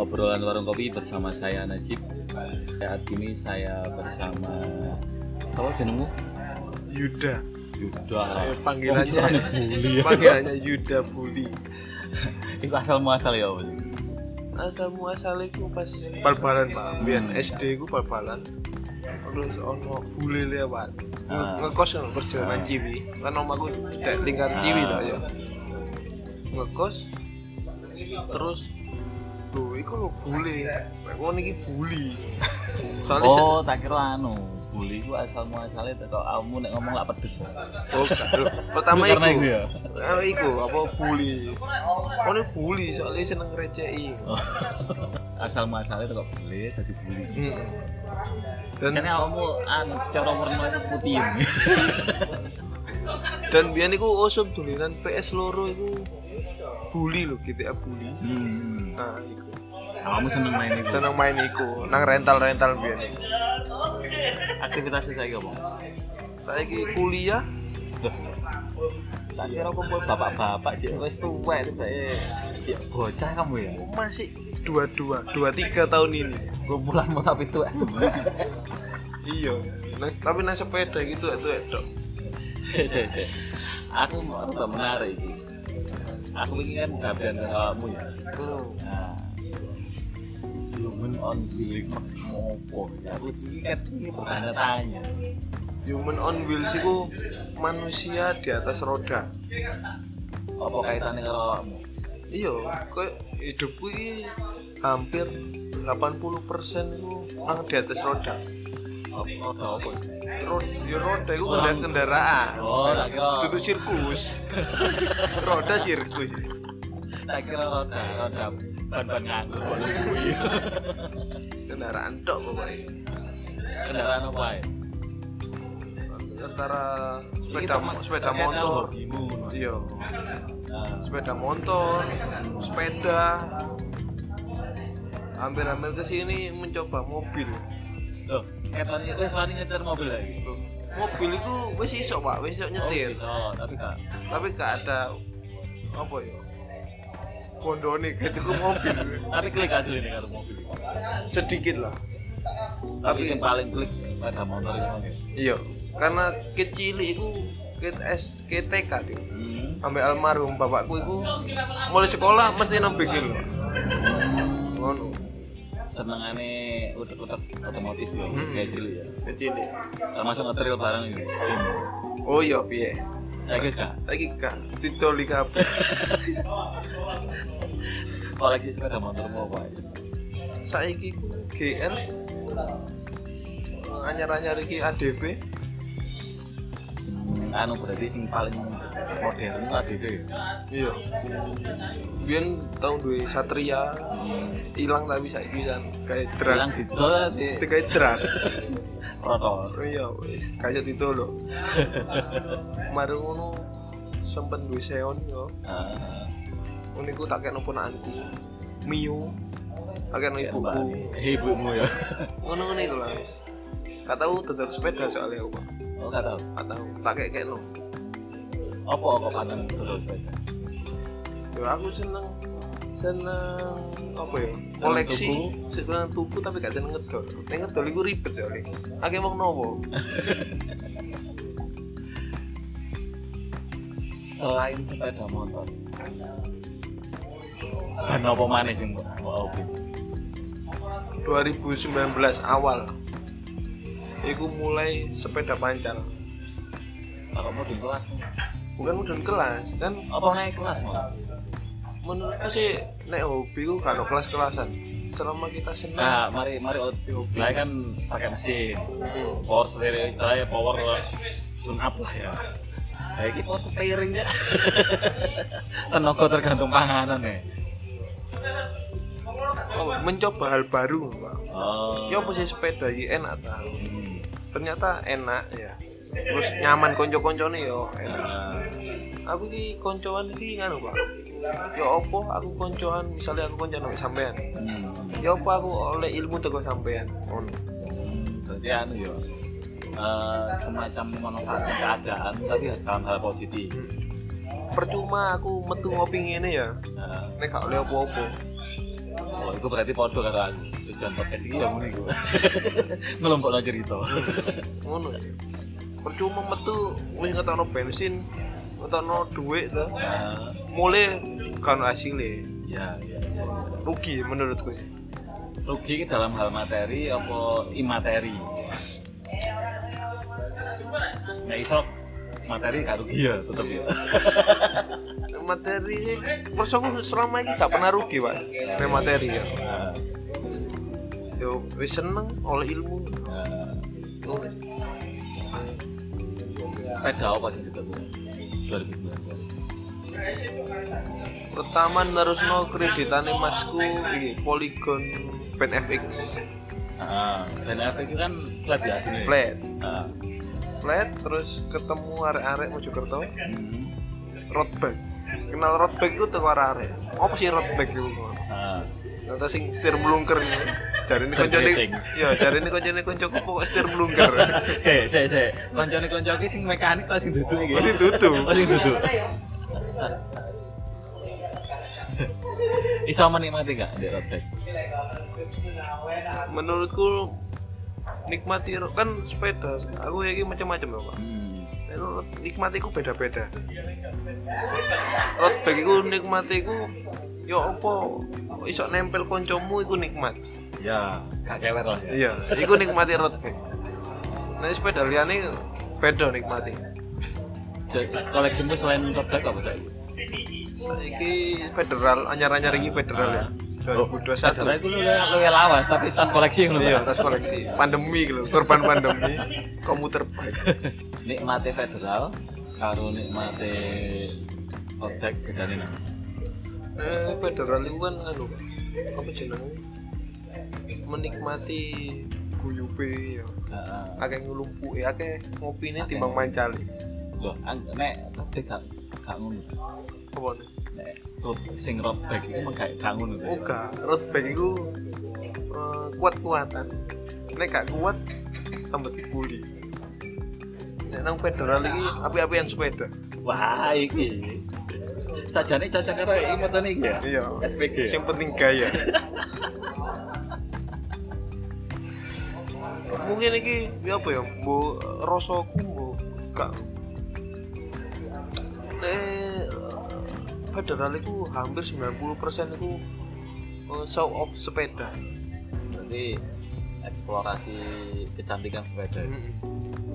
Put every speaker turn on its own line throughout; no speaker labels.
obrolan warung kopi bersama saya Najib. Saat ini saya bersama siapa jenengmu?
Yuda
Yuda.
Eh,
Ah. Wong
panggilannya
jarane bully ya.
panggilannya Yuda Buli
Iku asal muasal ya, Bos.
asal muasale ku pas bal-balan Pak Biyen
Hmm.
SD ku bal-balan terus ono bule lewat
Ah.
ngekos nang
Ah.
perjalanan Ciwi kan omahku dek lingkar Ciwi to ya ngekos terus Duh, iku lho bule. Wong iki buli. Soalnya se-
Oh, tak kira anu. Bully ku asal muasale teko kamu nek ngomong lak pedes.
Oh, lho, pertama
Karena
iku.
iku ya?
Pertama iku apa buli. Ono buli soalnya seneng ngreceki.
Oh. asal muasale teko bule dadi bully.
Hmm. Dan
Karena kamu anu cara formal itu putih.
dan biyen niku usum dolanan PS loro iku buli lho GTA buli.
Hmm.
Nah, iku.
Kamu seneng main itu.
Seneng main iku nang rental-rental biyen iku.
Aktivitasnya saya Bos.
Saiki kuliah
Tak kira kumpul bapak-bapak cik wis tuwek tiba cik bocah kamu ya.
masih dua-dua, dua-tiga tahun ini.
Kumpulan mau tapi tuwek tuwek.
Iya. Nah, tapi nang sepeda gitu itu dok.
Sik, sik, sik. Aku mau tambah menarik iki. Aku ingin kan jawaban dari kamu ya. Nah, Human on wheel itu apa? Ya, aku ini kan ini bertanya tanya.
Human on wheels iku manusia di atas roda.
Apa kaitannya karo kamu?
Iya, kok hidupku ini hampir 80% iku nang di atas roda.
Apa apa? apa?
roda ya roda itu
Orang-
kendara- kendaraan
Oh, tak kira.
duduk sirkus roda sirkus
Tak kira roda roda ban-ban nganggur.
kendaraan tok pokoknya
Kendaraan apa ya?
antara
Ini
sepeda
teman-
sepeda
terkait karo
motor
hobimu, no.
iya
Nah,
sepeda motor sepeda hampir-hampir ke sini mencoba mobil
Loh, ketoni wis wani nyetir mobil lagi.
Loh, mobil itu wis iso pak wis iso nyetir
Oh, iso, tapi gak.
tapi gak ada apa ya bondone gitu ku mobil
Tapi klik asli nih karo mobil.
sedikit lah
Tapi yang paling klik pada motor itu. ya.
Iya, karena kecil itu ket S KTK dia.
Hmm.
Ambil almarhum bapakku itu mulai sekolah mesti nang bikin lho. Ngono.
Senengane utek-utek otomotif yo,
Hmm.
kayak cilik ya.
Kecil.
Termasuk ngetril bareng yo.
Oh iya piye?
Saya guys kak,
Lagi kak didoli kabeh.
koleksi sepeda motormu apa? ya? aja?
Saiki ku GR anyar-anyar iki ADV
Anu berarti sing paling modern lah gitu ya.
iya biyen tahun duwe Satria hilang tapi saiki kan kayak
Bilang
drag
didol di
kayak drag
protol.
Oh iya wis kayak itu loh kemarin ngono sempet duwe seon yo
Ah,
ngono iku tak kena ponakanku Mio tak kena
kayak mbak
ibuku
ini. Eh, ibumu ya.
ngono ngono iku lah wis gak tau tetep sepeda soalnya aku Pak.
Oh gak tau.
gak tau tak kayak kena
Apa apa paten didol sepeda?
yo Ya, aku seneng seneng apa ya koleksi seneng tuku tapi gak seneng ngedol nek ngedol iku ribet soalnya akeh wong nopo
selain sepeda motor ban apa mana sih mbak mbak Obi
2019 awal iku mulai sepeda pancal
kalau mau di kelas
bukan mudun kelas kan
apa naik kelas mbak
menurutku sih nek hobi ku gak ono kelas-kelasan selama kita senang
nah mari mari Obi istilahnya kan pakai mesin power steering istilahnya power tune up lah ya Nah, ini power steering ya tenaga tergantung panganan ya
oh, mencoba hal baru Pak.
oh
ya apa sih sepeda iki enak ta
Hmm.
ternyata enak ya terus nyaman konco-koncone yo enak
Nah,
aku ki koncoan iki nganu Pak ya apa aku koncoan misalnya aku koncoan sama sampean
hmm.
ya apa aku oleh ilmu teko sampean ngono
berarti anu ya eh, semacam memanfaatkan keadaan tapi dalam hal positif
percuma aku metu ngopi ngene ya
Nah,
nek gak oleh apa-apa
Oh, itu berarti podo karo aku. Tujuan podcast iki ya ngono iku. Ngelompokno cerita.
ngono ya. percuma metu wis ngetokno bensin ngetokno dhuwit ta
Nah,
mulai kan hasilnya
ya, ya, ya.
rugi menurutku sih
Rugi iki dalam hal materi apa imateri? Nah, iso materi gak rugi ya tetep ya.
materi perso aku selama ini gak pernah rugi pak nek materi ya
Nah,
yo wis seneng oleh ilmu
nah,
Ngono.
Peda apa sih kita 2019?
pertama nerusno kreditane masku iki Polygon Pen FX
Ah, dan efek itu kan flat ya hasilnya.
flat
Ah,
flat terus ketemu arek-arek Mojokerto
hmm.
roadbag kenal roadbag itu tuh arek-arek apa sih roadbag itu
Ah,
Nata sing setir melungker Jari ini konjone
Terkriting.
Ya jari ini konjone koncoku pokok setir melungker
Eh, saya saya koncone koncone sing mekanik lah sing duduk iki.
Mesti duduk.
Oh, sing duduk. Iso menikmati enggak di road bike?
Menurutku Nikmati ro- kan sepeda Aku ya ini macam-macam loh pak
Hmm.
Menurut Nikmati ku beda-beda Road bike ku nikmati ku Ya apa Isok nempel koncomu iku nikmat
Ya, gak kewer lah ya.
Iya Iku nikmati road bike Nah sepeda liane beda nikmati
Jadi, koleksimu selain road bike apa sih?
Iki federal anyar-anyar ini federal ya 2021
Padahal Oh, itu lu lu lawas tapi tas koleksi lu. kan?
Iya, tas koleksi. Pandemi gitu, korban pandemi. Komuter bike.
Nikmati federal karo nikmati road bike bedane nang.
Eh, federal itu kan anu, apa jenenge? Menikmati guyupe ya.
Heeh.
Akeh ngelumpuke, akeh ngopine timbang mancali.
Loh, ang- nek road bike gak gak ngono.
Apa nih?
Nek road- sing road bike itu mah gak gak ngono. ya. tuh.
Oga, road bike iku eh, kuat-kuatan. Nek gak kuat tambah dibully. Nek nang federal iki api-apian sepeda.
Wah, iki. Sajane cocok karo imoton iki ya.
Iya.
SPG.
Yang penting gaya. Mungkin iki ya apa ya? Bu rasaku bu gak Nek eh, federal itu hampir 90% itu eh, show off sepeda.
Berarti eksplorasi kecantikan sepeda.
Hmm.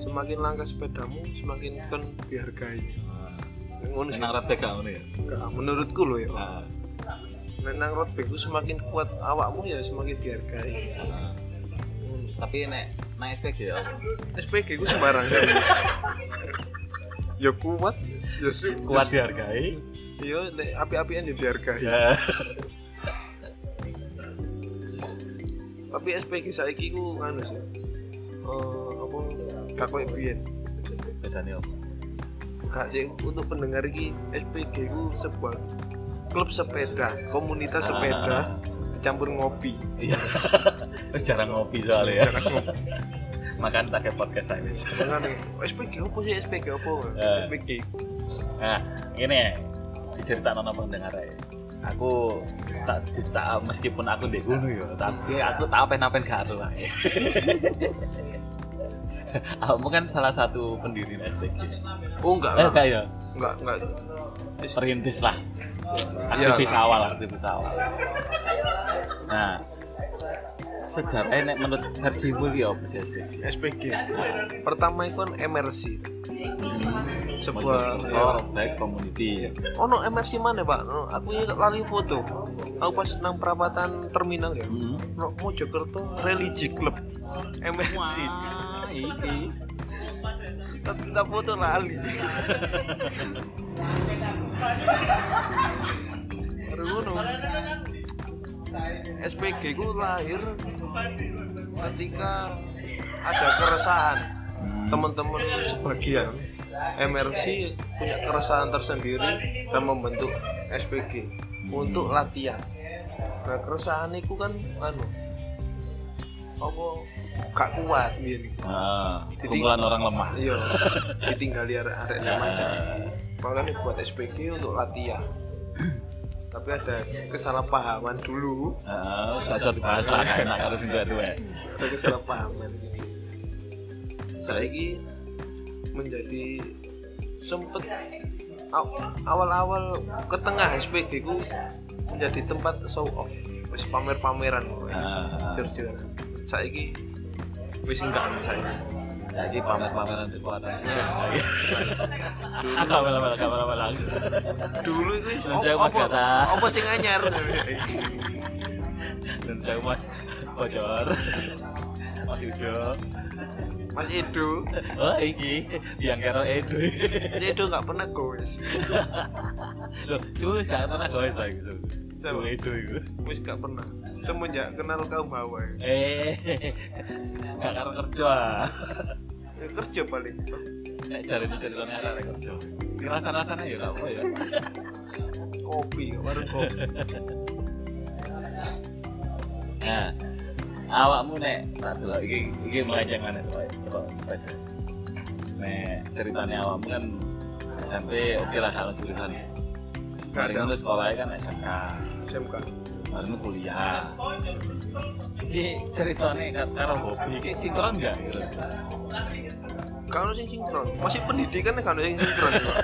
Semakin langka sepedamu, semakin kan dihargai. Ngono sih.
Senang rata Eh, gak ngono ya?
Gak, Menurutku loh ya.
Ah,
Nek nang road bike ku semakin kuat awakmu ya semakin dihargai.
ah. Tapi nek naik SPG ya.
SPG ku sembarang kan. ya kuat, ya su-
Kuat
ya.
dihargai.
su- Ya nek api-apian ya dihargai.
Ya.
Tapi SPG saiki ku anu sih. Eh apa gak koyo biyen.
Bedane opo?
Gak sih untuk pendengar iki SPG ku sebuah klub sepeda,
Ah.
komunitas sepeda dicampur ngopi.
Iya. Wis jarang ngopi soalnya ya.
Jarang ngopi.
Makan tak kayak podcast saya wis.
Makane SPG opo sih SPG opo?
Eh.
SPG.
Nah, ini diceritakan sama pendengar ya. Aku tak, tak meskipun aku di gunung ya, tapi aku tak apen-apen gak aru lah. ya. Kamu kan salah satu pendiri SPG.
Oh enggak
Eh,
lah.
enggak ya?
Enggak, enggak. Wis,
Perintis lah.
Iya.
Aktivis awal, aktivis awal. Nah, sejarah eh, nek menurut versimu iki apa sih SPG?
SPG. Pertama itu kan MRC. Sebuah
Sebuah
ya.
orang Oh, baik community.
Ono MRC mana pak? Ono, aku ingat lali foto. Aku pas nang perapatan terminal ya.
Hmm.
Ono Mojokerto Religi Club. MRC.
Wah, Ah, iki.
Tapi tak foto lali. Baru ngono. SPG ku lahir ketika ada keresahan Hmm. teman-teman sebagian MRC punya keresahan tersendiri dan membentuk SPG untuk latihan. Nah keresahan itu kan anu apa gak kuat gini.
Ah,
Jadi-
kumpulan orang lemah.
Iya, ditinggali arek-arek remaja. Makanya buat SPG untuk latihan. tapi ada kesalahpahaman dulu
Heeh, Ah, gak usah dibahas lah, gak enak harus enggak dua.
ada kesalahpahaman saya ini menjadi sempet aw- awal-awal ke tengah SPG ku menjadi tempat show off wis pamer-pameran
Heeh.
jujur saya ini wis enggak saya
Jadi pamer-pameran kekuatannya. Kamu lama kamu lama lagi.
dulu itu
Nun sewu, Mas, kata.
apa sih nganyar
Dan saya mas bocor. Mas Ujo.
Mas Edo
Oh iki yang karo Edo.
Mas Edo nggak pernah goes
Loh, suwe gak pernah guys lagi suwe. Suwe Edo itu.
wis nggak pernah semenjak kenal kaum hawa ya.
Eh, gak karo kerja.
Ya, kerja paling
Nek jarene ceritane arek kerja. Rasa-rasane ya gak apa ya.
kopi warung kopi
Nah, awakmu nek tak delok iki iki melenceng aneh kok kok sepeda. Nek ceritane awakmu kan SMP oke lah kalau tulisan. Hari kan sekolahnya kan SMK,
SMK
baru kuliah. Iki ceritane kar- karo hobi iki sinkron enggak?
kalau sing sinkron masih pendidikan kan sing sinkron Pak.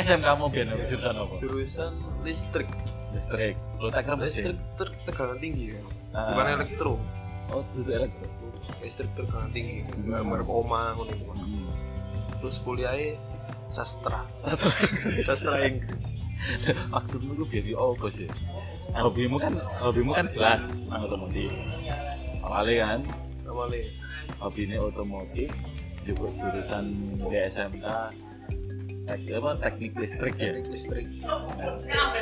SMK mau biar nang jurusan apa?
jurusan listrik
Listrik. Lu tak kira mesin.
listrik ter- tegangan tinggi ya
Ah.
bukan elektro
Oh, duduk elektro.
listrik tegangan tinggi
Hmm.
gambar koma ngono itu, Pak. terus kuliahnya sastra
Satu lagi.
sastra Inggris
maksudmu gue biar di apa sih hobimu kan hobimu kan jelas nang otomotif awalnya kan
awalnya
hobinya otomotif juga jurusan ya di SMK tek, apa, teknik listrik ya
listrik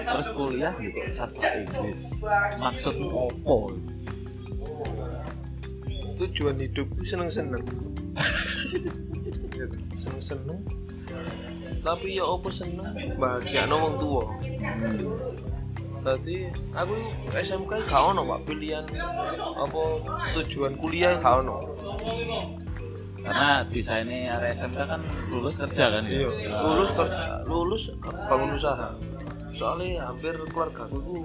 terus kuliah juga sastra Inggris maksudmu apa Hmm.
tujuan hidupku seneng seneng seneng seneng Iya, tapi ya apa seneng bahagia no wong tua tadi aku SMK gak ono pak pilihan apa tujuan kuliah gak ono
karena desainnya area SMK kan lulus kerja kan ya Nah,
lulus kerja lulus bangun usaha soalnya hampir keluarga aku tuh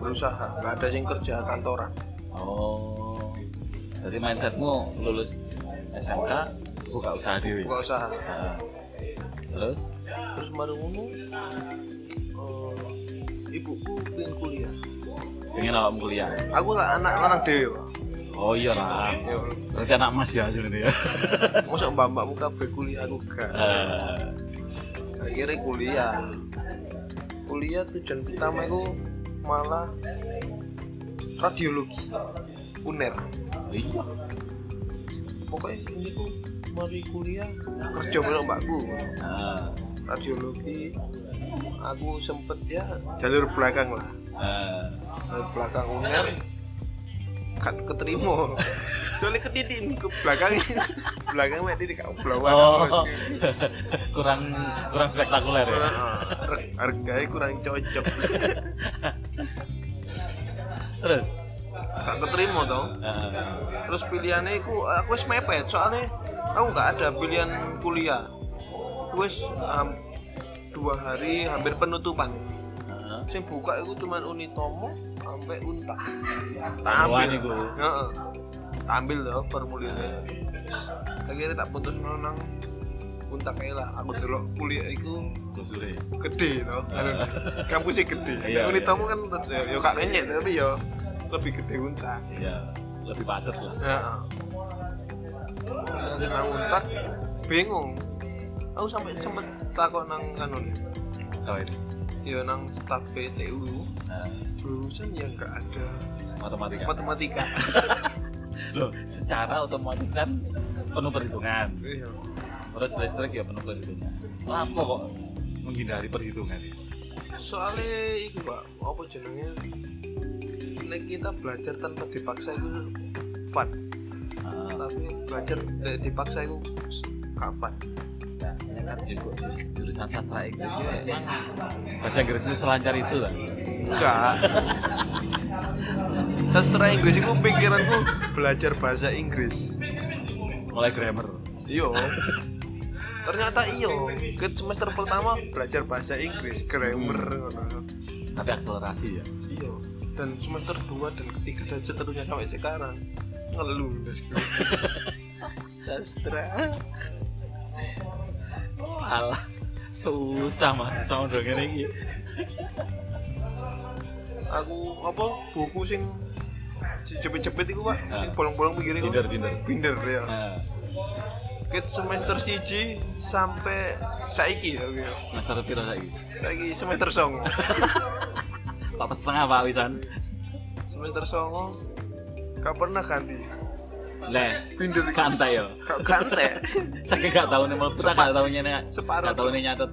berusaha gak ada yang kerja kantoran
oh jadi mindsetmu lulus SMK buka usaha dewi
buka usaha
Nah, terus
terus baru ngono eh, ibuku pengen kuliah
pengen awak kuliah
aku lah anak lanang dewe pak
oh iya lah
ya
berarti anak mas ya sebenarnya ya
masuk mbak mbakmu kabeh kuliah aku gak
Eh,
akhirnya kuliah kuliah tujuan pertama itu malah radiologi uner
iya
pokoknya ini ku mari kuliah kerja bareng mbakku
Eh,
radiologi aku sempet ya jalur belakang lah
eh,
jalur belakang uner kat keterima soalnya kedidin ke belakang belakang mek didik aku blowan
oh kurang kurang spektakuler ya
harganya kurang cocok
terus
gak keterima tau
eh,
terus pilihannya aku aku wis mepet soalnya aku nggak ada pilihan kuliah aku wis um, dua hari hampir penutupan
eh,
sing buka itu cuman unitomo sampai unta
Taruhan iku.
Heeh. tak ambil loh formulirnya akhirnya tak putus nang unta kae lah aku dulu kuliah itu
gusure
gede loh kampusnya gede
Iya, iya.
unitomo kan ya ya gak kenyek tapi ya lebih gede unta
ya lebih padat lah
Ya. Nang untak bingung. Aku sampai sempet takut nang kanun.
kalau ini
Ya nang staf VTU
Nah,
jurusan yang enggak ada
matematika
matematika.
kan. loh secara otomatis kan penuh perhitungan
Iya.
terus listrik ya penuh perhitungan apa kok menghindari perhitungan
Soalnya itu Pak, apa jenenge? Nek kita belajar tanpa dipaksa itu fun.
Eh,
Tapi belajar nek dipaksa itu kapan?
Nah, ini kan juga jurus- jurusan sastra Inggris ya emang bahasa Inggrismu selancar itu lah
Enggak. Sastra Inggris itu pikiranku belajar bahasa Inggris.
mulai grammar
Iya. ternyata iyo ke semester pertama belajar bahasa Inggris
Hmm.
grammar ngono.
tapi akselerasi ya
iya dan semester 2 dan ketiga dan seterusnya sampai sekarang ngeluh Mas. sastra
alah susah mas susah dong ini
aku apa buku sing cepet-cepet itu pak sing bolong-bolong pinggir itu
Ah. Binder, binder.
binder ya
nah,
ke semester siji sampai saiki ya oke.
semester piro lagi
saiki semester songo
empat setengah pak Wisan
semester songo gak pernah ganti
nah
binder kan
kantai yo
kante
ya. saking gak tahu nih mau kita gak tahu nih
Separuh.
gak tahu nih nyatet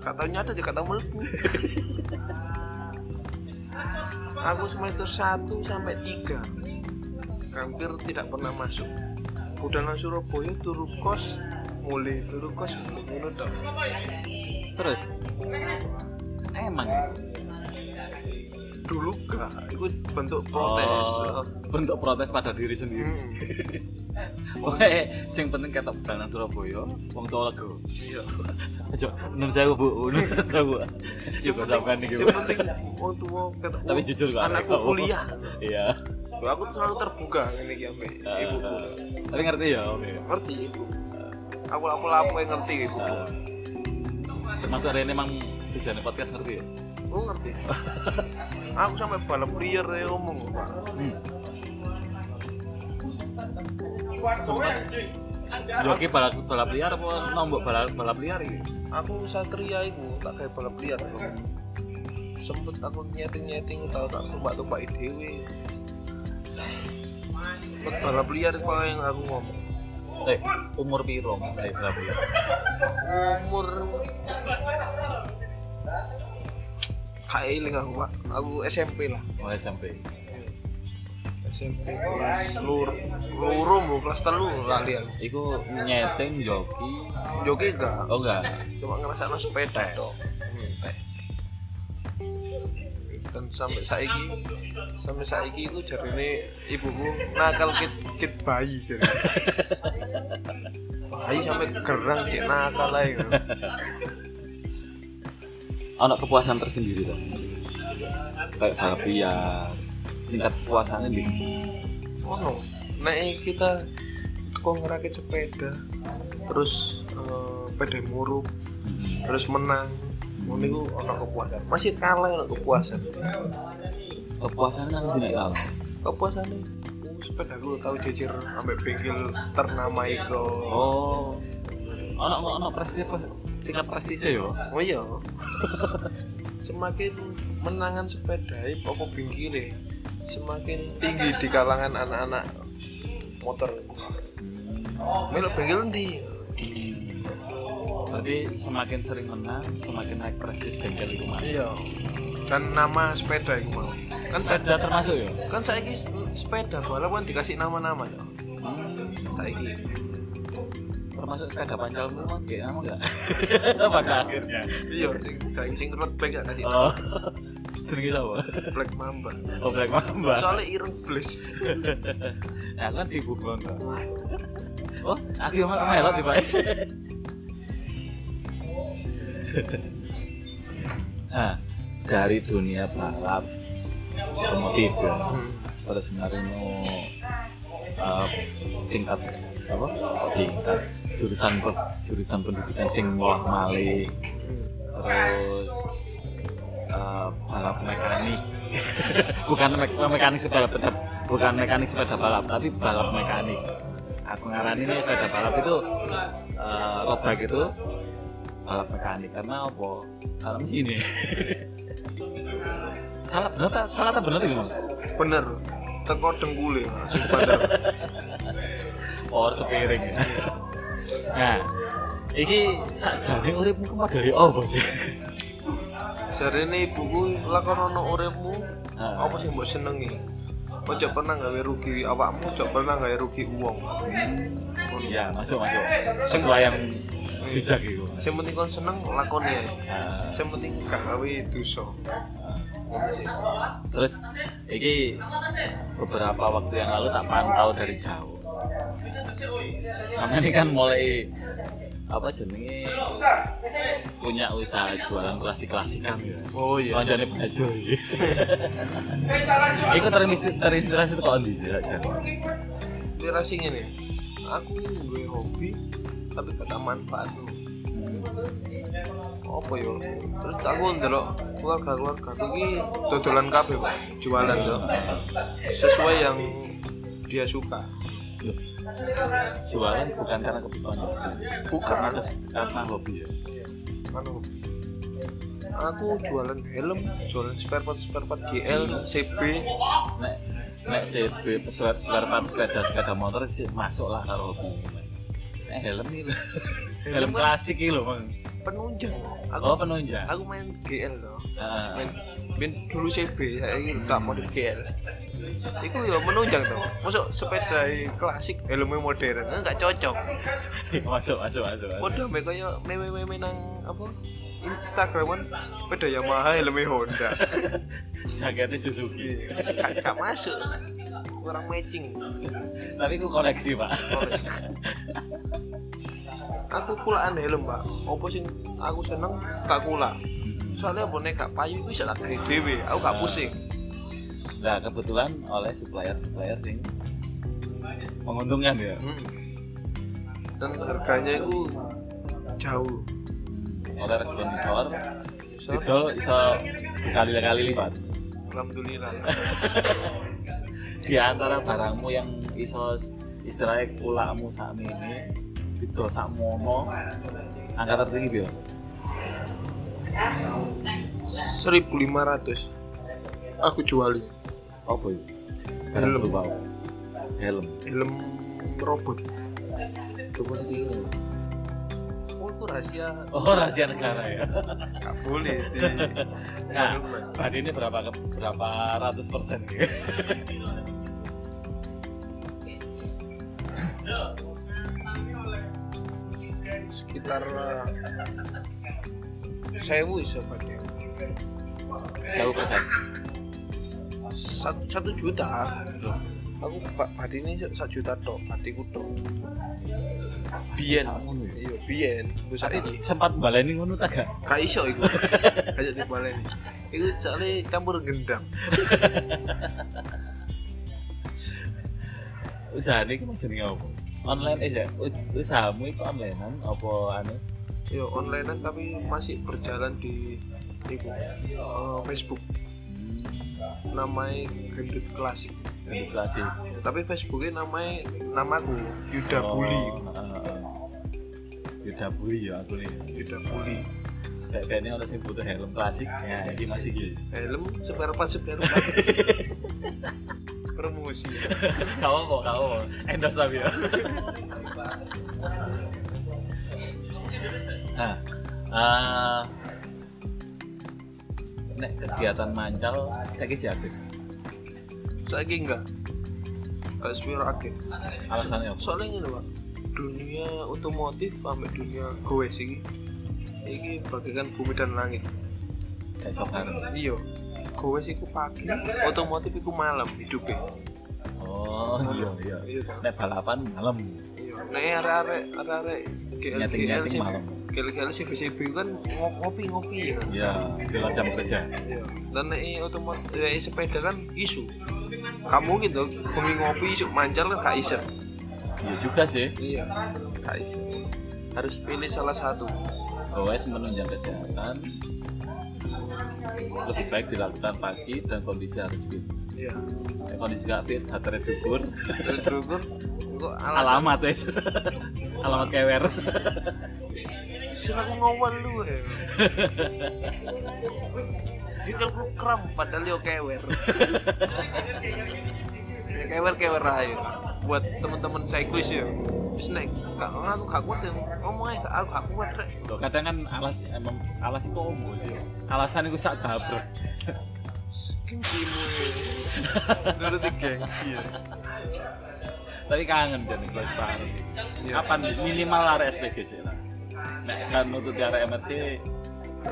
katanya ada juga tahu melebu aku semester 1 sampai 3 hampir tidak pernah masuk udah nang Surabaya turu kos mulai turu kos mulai ngono tok.
terus emang ya?
dulu gak itu bentuk protes
Oh, Iya. untuk protes pada diri sendiri
Hmm,
Oke, sing penting ketok budal nang Surabaya, wong tua lego.
iya.
Aja nun saya Bu, nun saya.
Yang
Juga
penting-
sampean iki.
yang penting wong tua ketemu
Tapi jujur kok
anakku
aku.
kuliah
Iya.
Loh, aku selalu terbuka ngene iki ambek
Ibu.
ibuku
Tapi ngerti ya, oke.
ngerti ibu aku aku lapo yang ngerti ibu
Eh, Termasuk Rene emang tujuannya podcast ngerti ya?
aku ngerti aku sampai balap liar ya ngomong Pak.
Sempat Joki balap balap liar apa nombok balap balap liar iki?
aku satria iku tak kayak balap liar Bro. sempet aku nyeting nyeting tau tak tumpah tumpah dewe Sempet balap liar itu yang aku ngomong
Eh, umur piro Eh, Mas Rene balap liar?
umur kayak ilang aku pak aku SMP lah
Mulai SMP.
SMP kelas lur lurum lho, kelas telu lali aku
Iku nyeting joki.
joki enggak
Oh enggak.
cuma ngerasa sepeda
Tes.
dong dan sampai saiki sampai saiki itu jarine ibuku nakal kit kit bayi jadi bayi sampai gerang cek nakal ae ngono.
ono kepuasan tersendiri tuh kayak balap liar tingkat kepuasannya di
ono nek kita kok ngerakit sepeda terus eh, sepeda muruk terus menang ngono iku ono kepuasan masih kalah ono kepuasan
kepuasan kan tidak kalah
kepuasan nih sepeda gue tahu jejer sampai bengkel ternama itu
oh ono ono ono prestise tingkat prestise yo
Oh iya. semakin menangan sepeda apa pinggire semakin tinggi di kalangan anak-anak motor. Melok pinggir ndi?
berarti semakin sering menang semakin naik prestis bengkel itu mas
Iya. Kan nama sepeda iku mau. Kan saya
ada termasuk ya
kan saiki s- sepeda walaupun dikasih nama-nama ya. Saiki.
Hmm, termasuk sepeda pancal itu kan kayak nama enggak pada akhirnya
Iya, sing saiki sing road bike gak kasih nama.
oh sering apa
Black Mamba.
oh black mamba
Soalnya ireng blis.
Nah, aku kan sibuk banget. Oh, aku yang malah melot tiba Nah, dari dunia balap otomotif ya,
Hmm.
terus ngarino uh, tingkat apa? Kok Tingkat jurusan pe- jurusan pendidikan sing ngolah malik terus eh, balap mekanik bukan me mekanik sepeda balap bukan mekanik sepeda balap tapi balap mekanik aku ngarani nih sepeda balap itu eh, road bike itu balap mekanik karena apa karena mesin ya salah bener tak salah tak bener itu
Bener. Teko dengkule langsung bandar.
or sepiring ya nah ini sakjane uripmu kemadani apa sih
Jarene ibuku lakon ana uripmu
Ah.
apa sing mbok senengi? Ojo pernah gawe rugi awakmu, ojo pernah gawe rugi wong.
ya masuk masuk sesuai yang bijak itu
Sing penting kon seneng lakoni ae.
Ah.
Sing penting gak gawe dosa.
Terus iki beberapa waktu yang lalu tak pantau dari jauh. Sama ini kan mulai apa jenenge punya usaha jualan klasik klasikan ya.
oh iya
Kancane baju. Iku terinspirasi terinspirasi tuh kon di sih.
inspirasi ini aku gue hobi tapi gak tak manfaat loh apa ya terus aku ndelok keluarga keluarga aku ki dodolan kabeh pak jualan yo sesuai yang dia suka
Jualan bukan karena kebutuhan dasar.
Bukan.
karena karena hobi ya.
anu aku jualan helm jualan spare part spare part GL CB
Nek nek CB pesawat spare part sepeda sepeda motor sih masuk lah kalau hobi. Nek helm ini lho. helm klasik ini lho, Mang.
penunjang kan? aku
Oh, penunjang.
aku main GL loh
Ah.
main main dulu CB saya gak mau di GL itu ya menunjang tuh masuk sepeda klasik helmnya modern nggak cocok
masuk masuk masuk. masuk.
Waduh, mereka ya meme-meme nang apa? Instagraman sepeda Yamaha helmnya Honda.
Jaketnya Suzuki.
Iya, gak- gak masuk. Kurang matching.
Tapi aku koleksi, Pak.
Oleh. Oh, iya. aku kulaan helm, Pak. Apa sing aku seneng gak kula. Soalnya apa nek gak payu iku iso tak gawe dhewe. Aku gak pusing.
Nah, kebetulan oleh supplier-supplier sing menguntungkan ya.
Hmm. Dan harganya itu jauh.
Oleh rekan sensor,
So,
didol iso berkali-kali lipat.
Alhamdulillah.
Di antara barangmu yang iso s- istilahnya kulakmu saat ini, didol sak mono, angka tertinggi biar.
1500 aku jualin
Apa itu?
Helm.
Helm. Helm.
helm robot.
Coba nanti.
Oh, itu rahasia
Oh, rahasia negara ya.
Gak boleh di
Nah, ban ini berapa ke- berapa ratus persen gitu?
sekitar eh, sewu iso pakai
Satu persen.
satu satu juta aku pak padi ini satu juta tok padiku tok bien
ya?
iya bien besar ini
sempat baleni ngono ta gak?
gak iso iku kayak di balai itu soalnya campur gendam
Usahane iku mau jenenge apa? Online eh ya, u- usahamu itu onlinean apa anu?
yo online tapi masih berjalan di iku, eh, Facebook
Hmm,
namanya gendut klasik
Edukasi.
Ya, tapi Facebooknya namanya namaku Yuda Buli
Oh. Yuda Buli ya aku nih.
Yuda Buli
Kayak kayaknya orang sing butuh helm klasik. Ya, ini masih gitu.
helm spare part spare part promosi
Kau apa kau? Endorse tapi ya. Nah, eh, nek kegiatan mancal saya jabe.
saya enggak gak spare aktif
Alasannya apa?
soalnya ini pak dunia otomotif sampai dunia goes ini ini bagaikan bumi dan langit
Kayak sokan.
iya goes itu pagi otomotif itu malam hidupnya
Oh iya iya.
iya kan
Nek balapan malam,
iya nah arek-arek arek-arek GL-GL
nyeting-nyeting
sih
malam.
GL-GL sih CBCB kan ngop- ngopi-ngopi ya
Iya, di luar jam kerja.
Iya. dan ini otomat eh, sepeda kan isu kamu gitu bumi ngopi isu mancar kan gak iso
Iya juga sih.
iya gak iso harus pilih salah satu
OS menunjang kesehatan lebih baik dilakukan pagi dan kondisi harus fit.
iya
Nek kondisi gak fit, baterai dubur,
terus terus gue gue alasan
alamat wes. alamat kewer.
sih aku ngawal lu ya Jika gue kram padahal yo kewer Ya, kewer kewer aja buat teman-teman cyclist ya terus naik kak aku gak kuat ya ngomong aja aku gak kuat rek
Loh, kadang kan alas emang alas iku ombo sih. Alasan iku sak gabrek.
Gengsimu Nuruti gengsi ya
Tapi kangen jan iku wis parah.
Iya.
Kapan minimal arek SPG sih lah. Nek kan nututi arek MRC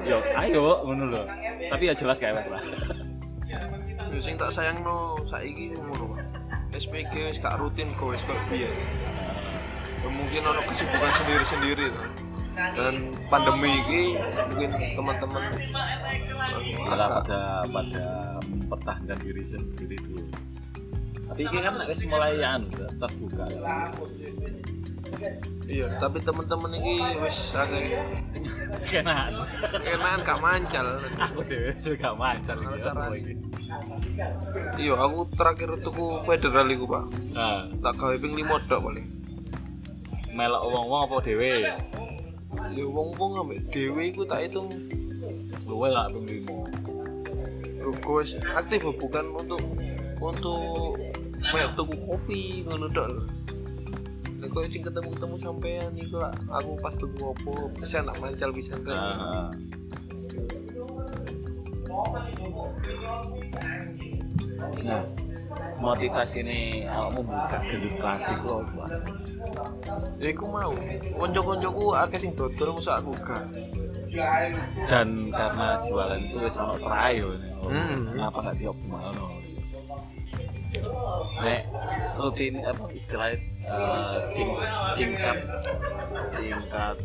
yo ya, ayo ngono lho. Tapi ya jelas kewer lah.
Ya sing tak sayang no saiki ngono Pak. SPG wis gak rutin go wis kok biyen. ya mungkin ono kesibukan sendiri-sendiri kan. dan pandemi ini mungkin teman-teman eh,
Malah
agak
pada pada mempertahankan diri sendiri dulu. Tapi ini kan wis mulai anu terbuka.
iya tapi teman-teman ini wis agak
Kenaan.
kenaan gak mancal
anu. Aku dhewe juga mancal iki.
Rasa-rasa.
apa iki.
iya aku terakhir tuku federal iku pak
Nah,
tak gawe ping 5 tok paling
melok wong-wong apa dhewe?
ya wong-wong ambek dhewe iku tak hitung
Luwe lah ping limo.
Ruko wis aktif bukan untuk untuk kayak tuku kopi ngono tok lho. Nek koyo sing ketemu-ketemu sampean iku lah aku pas tuku opo bisa nak mancal bisa kan.
Nah, nah motivasi ini awakmu buka gendut klasik lo mas
Ya iku mau. Konco-koncoku akeh sing dodol musak aku gak.
dan karena jualan itu wis ono trial
Hmm.
kenapa nggak tiap malam nek rutin apa istilahnya eh, ting- tingkat tingkat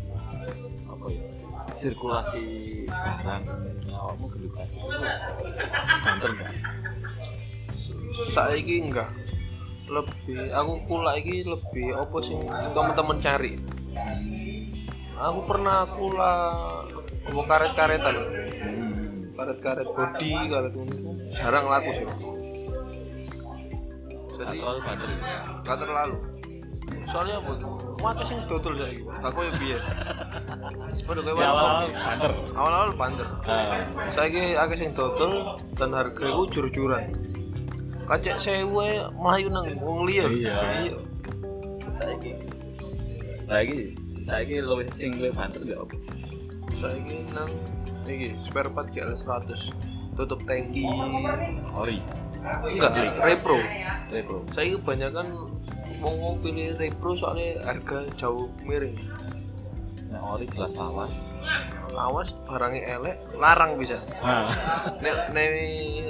apa ya sirkulasi barang ya, awakmu gendut klasik itu banter nggak
Saiki enggak. Lebih aku kula iki lebih opo sing temen-temen cari. Aku pernah kula opo karet-karetan.
Hmm.
karet-karet body karet ngono iku jarang laku sih
Nggak
jadi
terlalu banter ya?
gak terlalu soalnya apa waktu sing dodol saya gitu gak koyo biye sepeda koyo
Ya awal-awal banter
awal-awal banter saya ki akeh sing dodol dan harga iku jur-juran kacek sewe melayu nang wong liya
Iya. saiki lagi saiki luwih sing luwih banter gak apa
saya ki nang iki spare part GL 100 tutup tangki
ori
enggak
Iya.
repro
repro
saya kebanyakan mau mau pilih repro soalnya harga jauh miring
nah ori jelas lawas
lawas barangnya elek larang bisa
nah
nek nek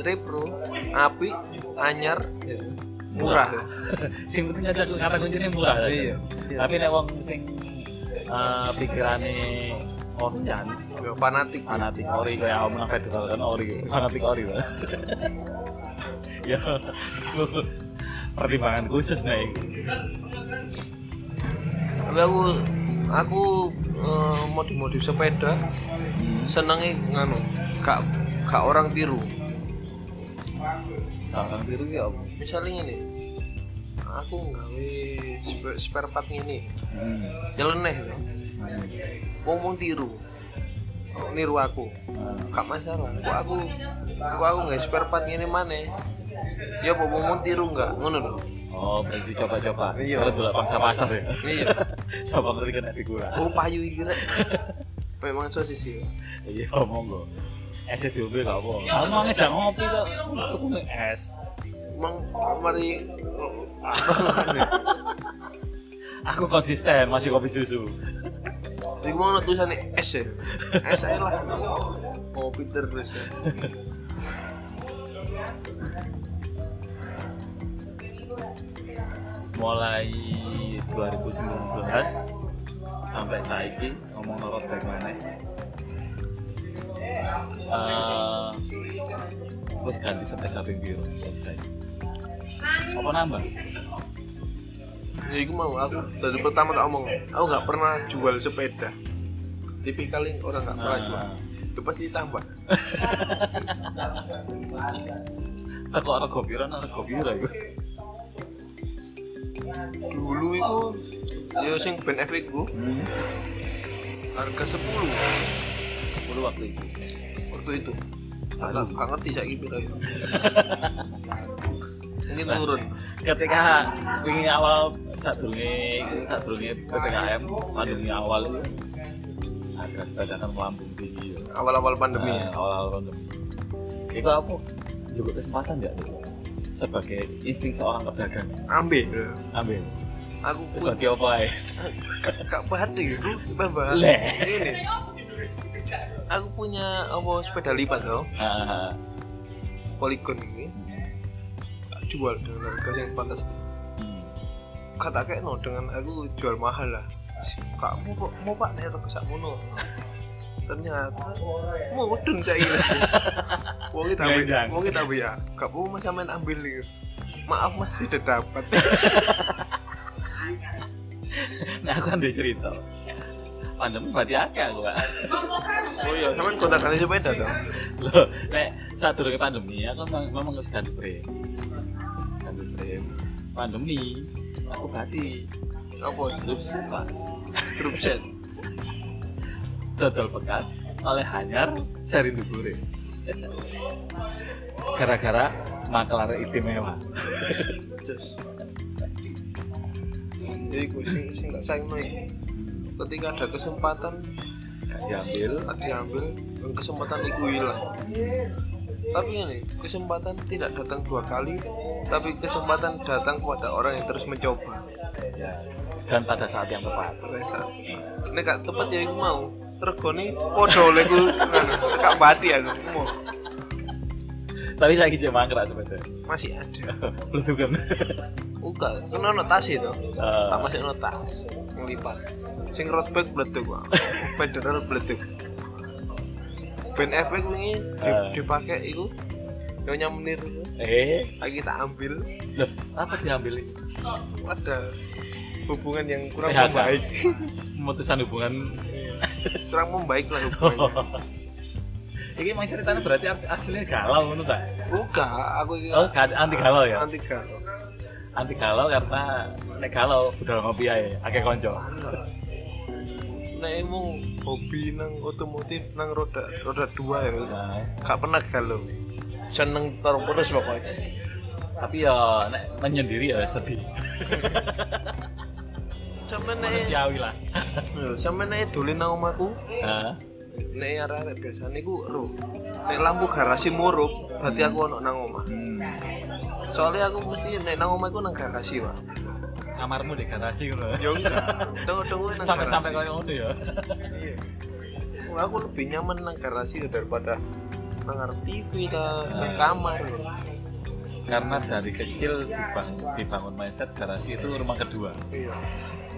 repro api anyar ya. murah
sing penting aja kata kuncinya murah
Iya.
tapi nek wong sing eh, pikirane orian
Nggak fanatik
fanatik ori kayak omong festival kan ori fanatik ori lah ya pertimbangan khusus nih
tapi aku aku mau modif sepeda senengnya nganu gak gak orang tiru
Tangan biru ya apa?
misalnya ini aku nggawe spe- spare part ini
Hmm.
nyeleneh ya. wong mau tiru niru aku
Nah.
gak masalah kok aku kok aku nggak spare part ini mana ya mau mau tiru nggak ngono lho
Oh, berarti coba-coba. Iya. Kalau dulu pangsa pasar ya.
Iya.
Sama ngerti kena figura.
oh payu iki rek memang sosis ya
Iya, monggo. Es itu gue gak apa. Aku mau ngejak Ya, ngopi tuh. Tuku nih es.
emang mari
Aku konsisten masih kopi susu.
Iku mau ono tulisannya S ya S aja lah mau Peter terus ya
Mulai 2019 sampai saiki ngomong lorot baik mana? Eh, terus ganti sepeda pinggir. Apa nambah?
ya iku mau aku dari pertama tak omong aku nggak pernah jual sepeda tipikalnya orang nggak pernah
Nah.
jual itu pasti ditambah
Teko rego pira nang rego pira iku.
dulu itu ya sing Ben Affleck ku
Hmm.
harga 10
10 waktu itu.
waktu itu agak gak ngerti saya kira itu mungkin turun
Ketika wingi awal sadurunge sadurunge PPKM pandemi awal itu harga sepeda kan melambung tinggi ya.
awal-awal pandemi ya
Nah, awal-awal pandemi. Itu aku juga kesempatan enggak tuh? Sebagai insting seorang pedagang.
ambil
Ambil.
aku
Ah. Terus
pun
bagi apa ae?
gak paham deh aku tambah
Leh.
ini aku punya apa sepeda lipat tau
Ah, hmm.
poligon ini tak jual dengan harga yang pantas
hmm.
kata kayak no dengan aku jual mahal lah Si, kamu kok mau pak nih rego sak mono ternyata mau udun saya ini mau kita ambil
Ganjang.
mau kita ambil ya gak mau mas main ambil ya maaf mas sudah dapat
nah aku kan ada cerita pandemi berarti akeh aku Pak.
oh iya cuman kontak kali sepeda tuh
Loh, nek saat durunge pandemi aku memang, memang harus ganti frame. Ganti frame. Pandemi aku ganti
apa
grup set, Pak.
grup set
Dodol bekas oleh hanyar seri dugure. Gara-gara maklar istimewa.
Jos. Jadi gue sing sing tak sayang Ketika ada kesempatan
Gak diambil.
tak diambil, dan kesempatan itu hilang. Tapi ini kesempatan tidak datang dua kali, tapi kesempatan datang kepada orang yang terus mencoba.
Ya. Dan pada saat yang tepat.
Resa. Ini gak tepat ya aku mau. Regone podo oleh ku kak bati aku mau.
Tapi saya kisah mangkrak sebenarnya.
Masih ada.
Belum kan.
Uga, kena notasi tuh.
Eh,
tak masih notas ngelipat sing road bike bledek Pak. federal bledek ben efek wingi di,
Eh.
dipakai itu nyonya menir itu,
Eh,
lagi tak ambil
loh, apa diambil?
ada hubungan yang kurang
PHK.
membaik Iya.
Memutuskan hubungan
kurang membaik lah hubungannya
Ini emang ceritanya berarti aslinya galau menurut tak?
buka aku ini
Oh, ga- anti galau ya?
anti galau
Anti galau karena nek galau udah ngopi aja, akeh konco.
nek emu hobi nang otomotif nang roda roda dua ya
Nah,
gak pernah galau seneng tor terus pokoknya
tapi ya nek menyendiri ya sedih.
sampe nek
Manusiawi lah.
sampe nek dolen nang omahku
Nah,
nek arek biasane ku ero. Nek lampu garasi murup, berarti aku ono nang omah.
hmm,
Soalnya aku mesti nek nang omah iku nang garasi, Pak.
kamarmu di garasi gitu.
Ya enggak. Tunggu-tunggu nang
Sampai-sampai
garasi.
kayak ngono ya.
Iya. Wah, Aku lebih nyaman nang garasi ya daripada nang ngarep TV lah, nang kamar. ya.
Karena dari kecil dibang- dibangun mindset garasi itu rumah kedua.
Iya.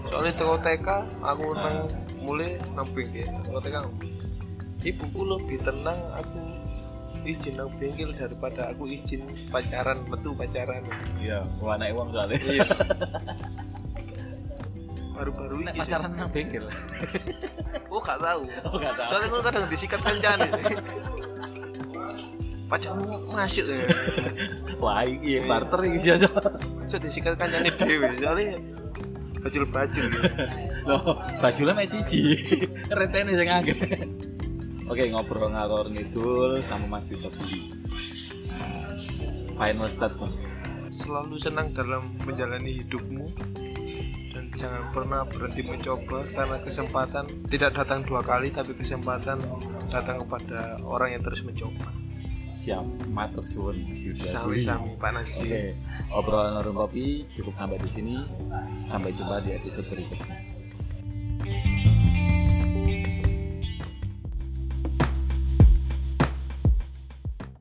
Soalnya teko TK aku nang mulai nang bengkel. Teko TK ibuku lebih tenang aku izin nang bengkel daripada aku izin pacaran metu pacaran
Iya, gua anak uang soalnya.
iya baru-baru
Nek
ini
pacaran nang bengkel.
oh gak tahu
Oh, gak tahu.
soalnya gue kadang disikat kancane pacarmu masuk ya
Wah, iya barter iki sih.
so disikat kancane dewe soalnya bajul-bajul
Loh, bajulah mek siji. Rentene sing akeh. Oke, ngobrol ngalor ngidul sama Mas Yuta Budi. Final statement.
selalu senang dalam menjalani hidupmu dan jangan pernah berhenti mencoba karena kesempatan tidak datang dua kali tapi kesempatan datang kepada orang yang terus mencoba
Siap, matur suwun Mas Yuta Budi.
sami-sami Pak Najib
Oke, obrolan warung kopi cukup sampai di sini. Sampai jumpa di episode berikutnya.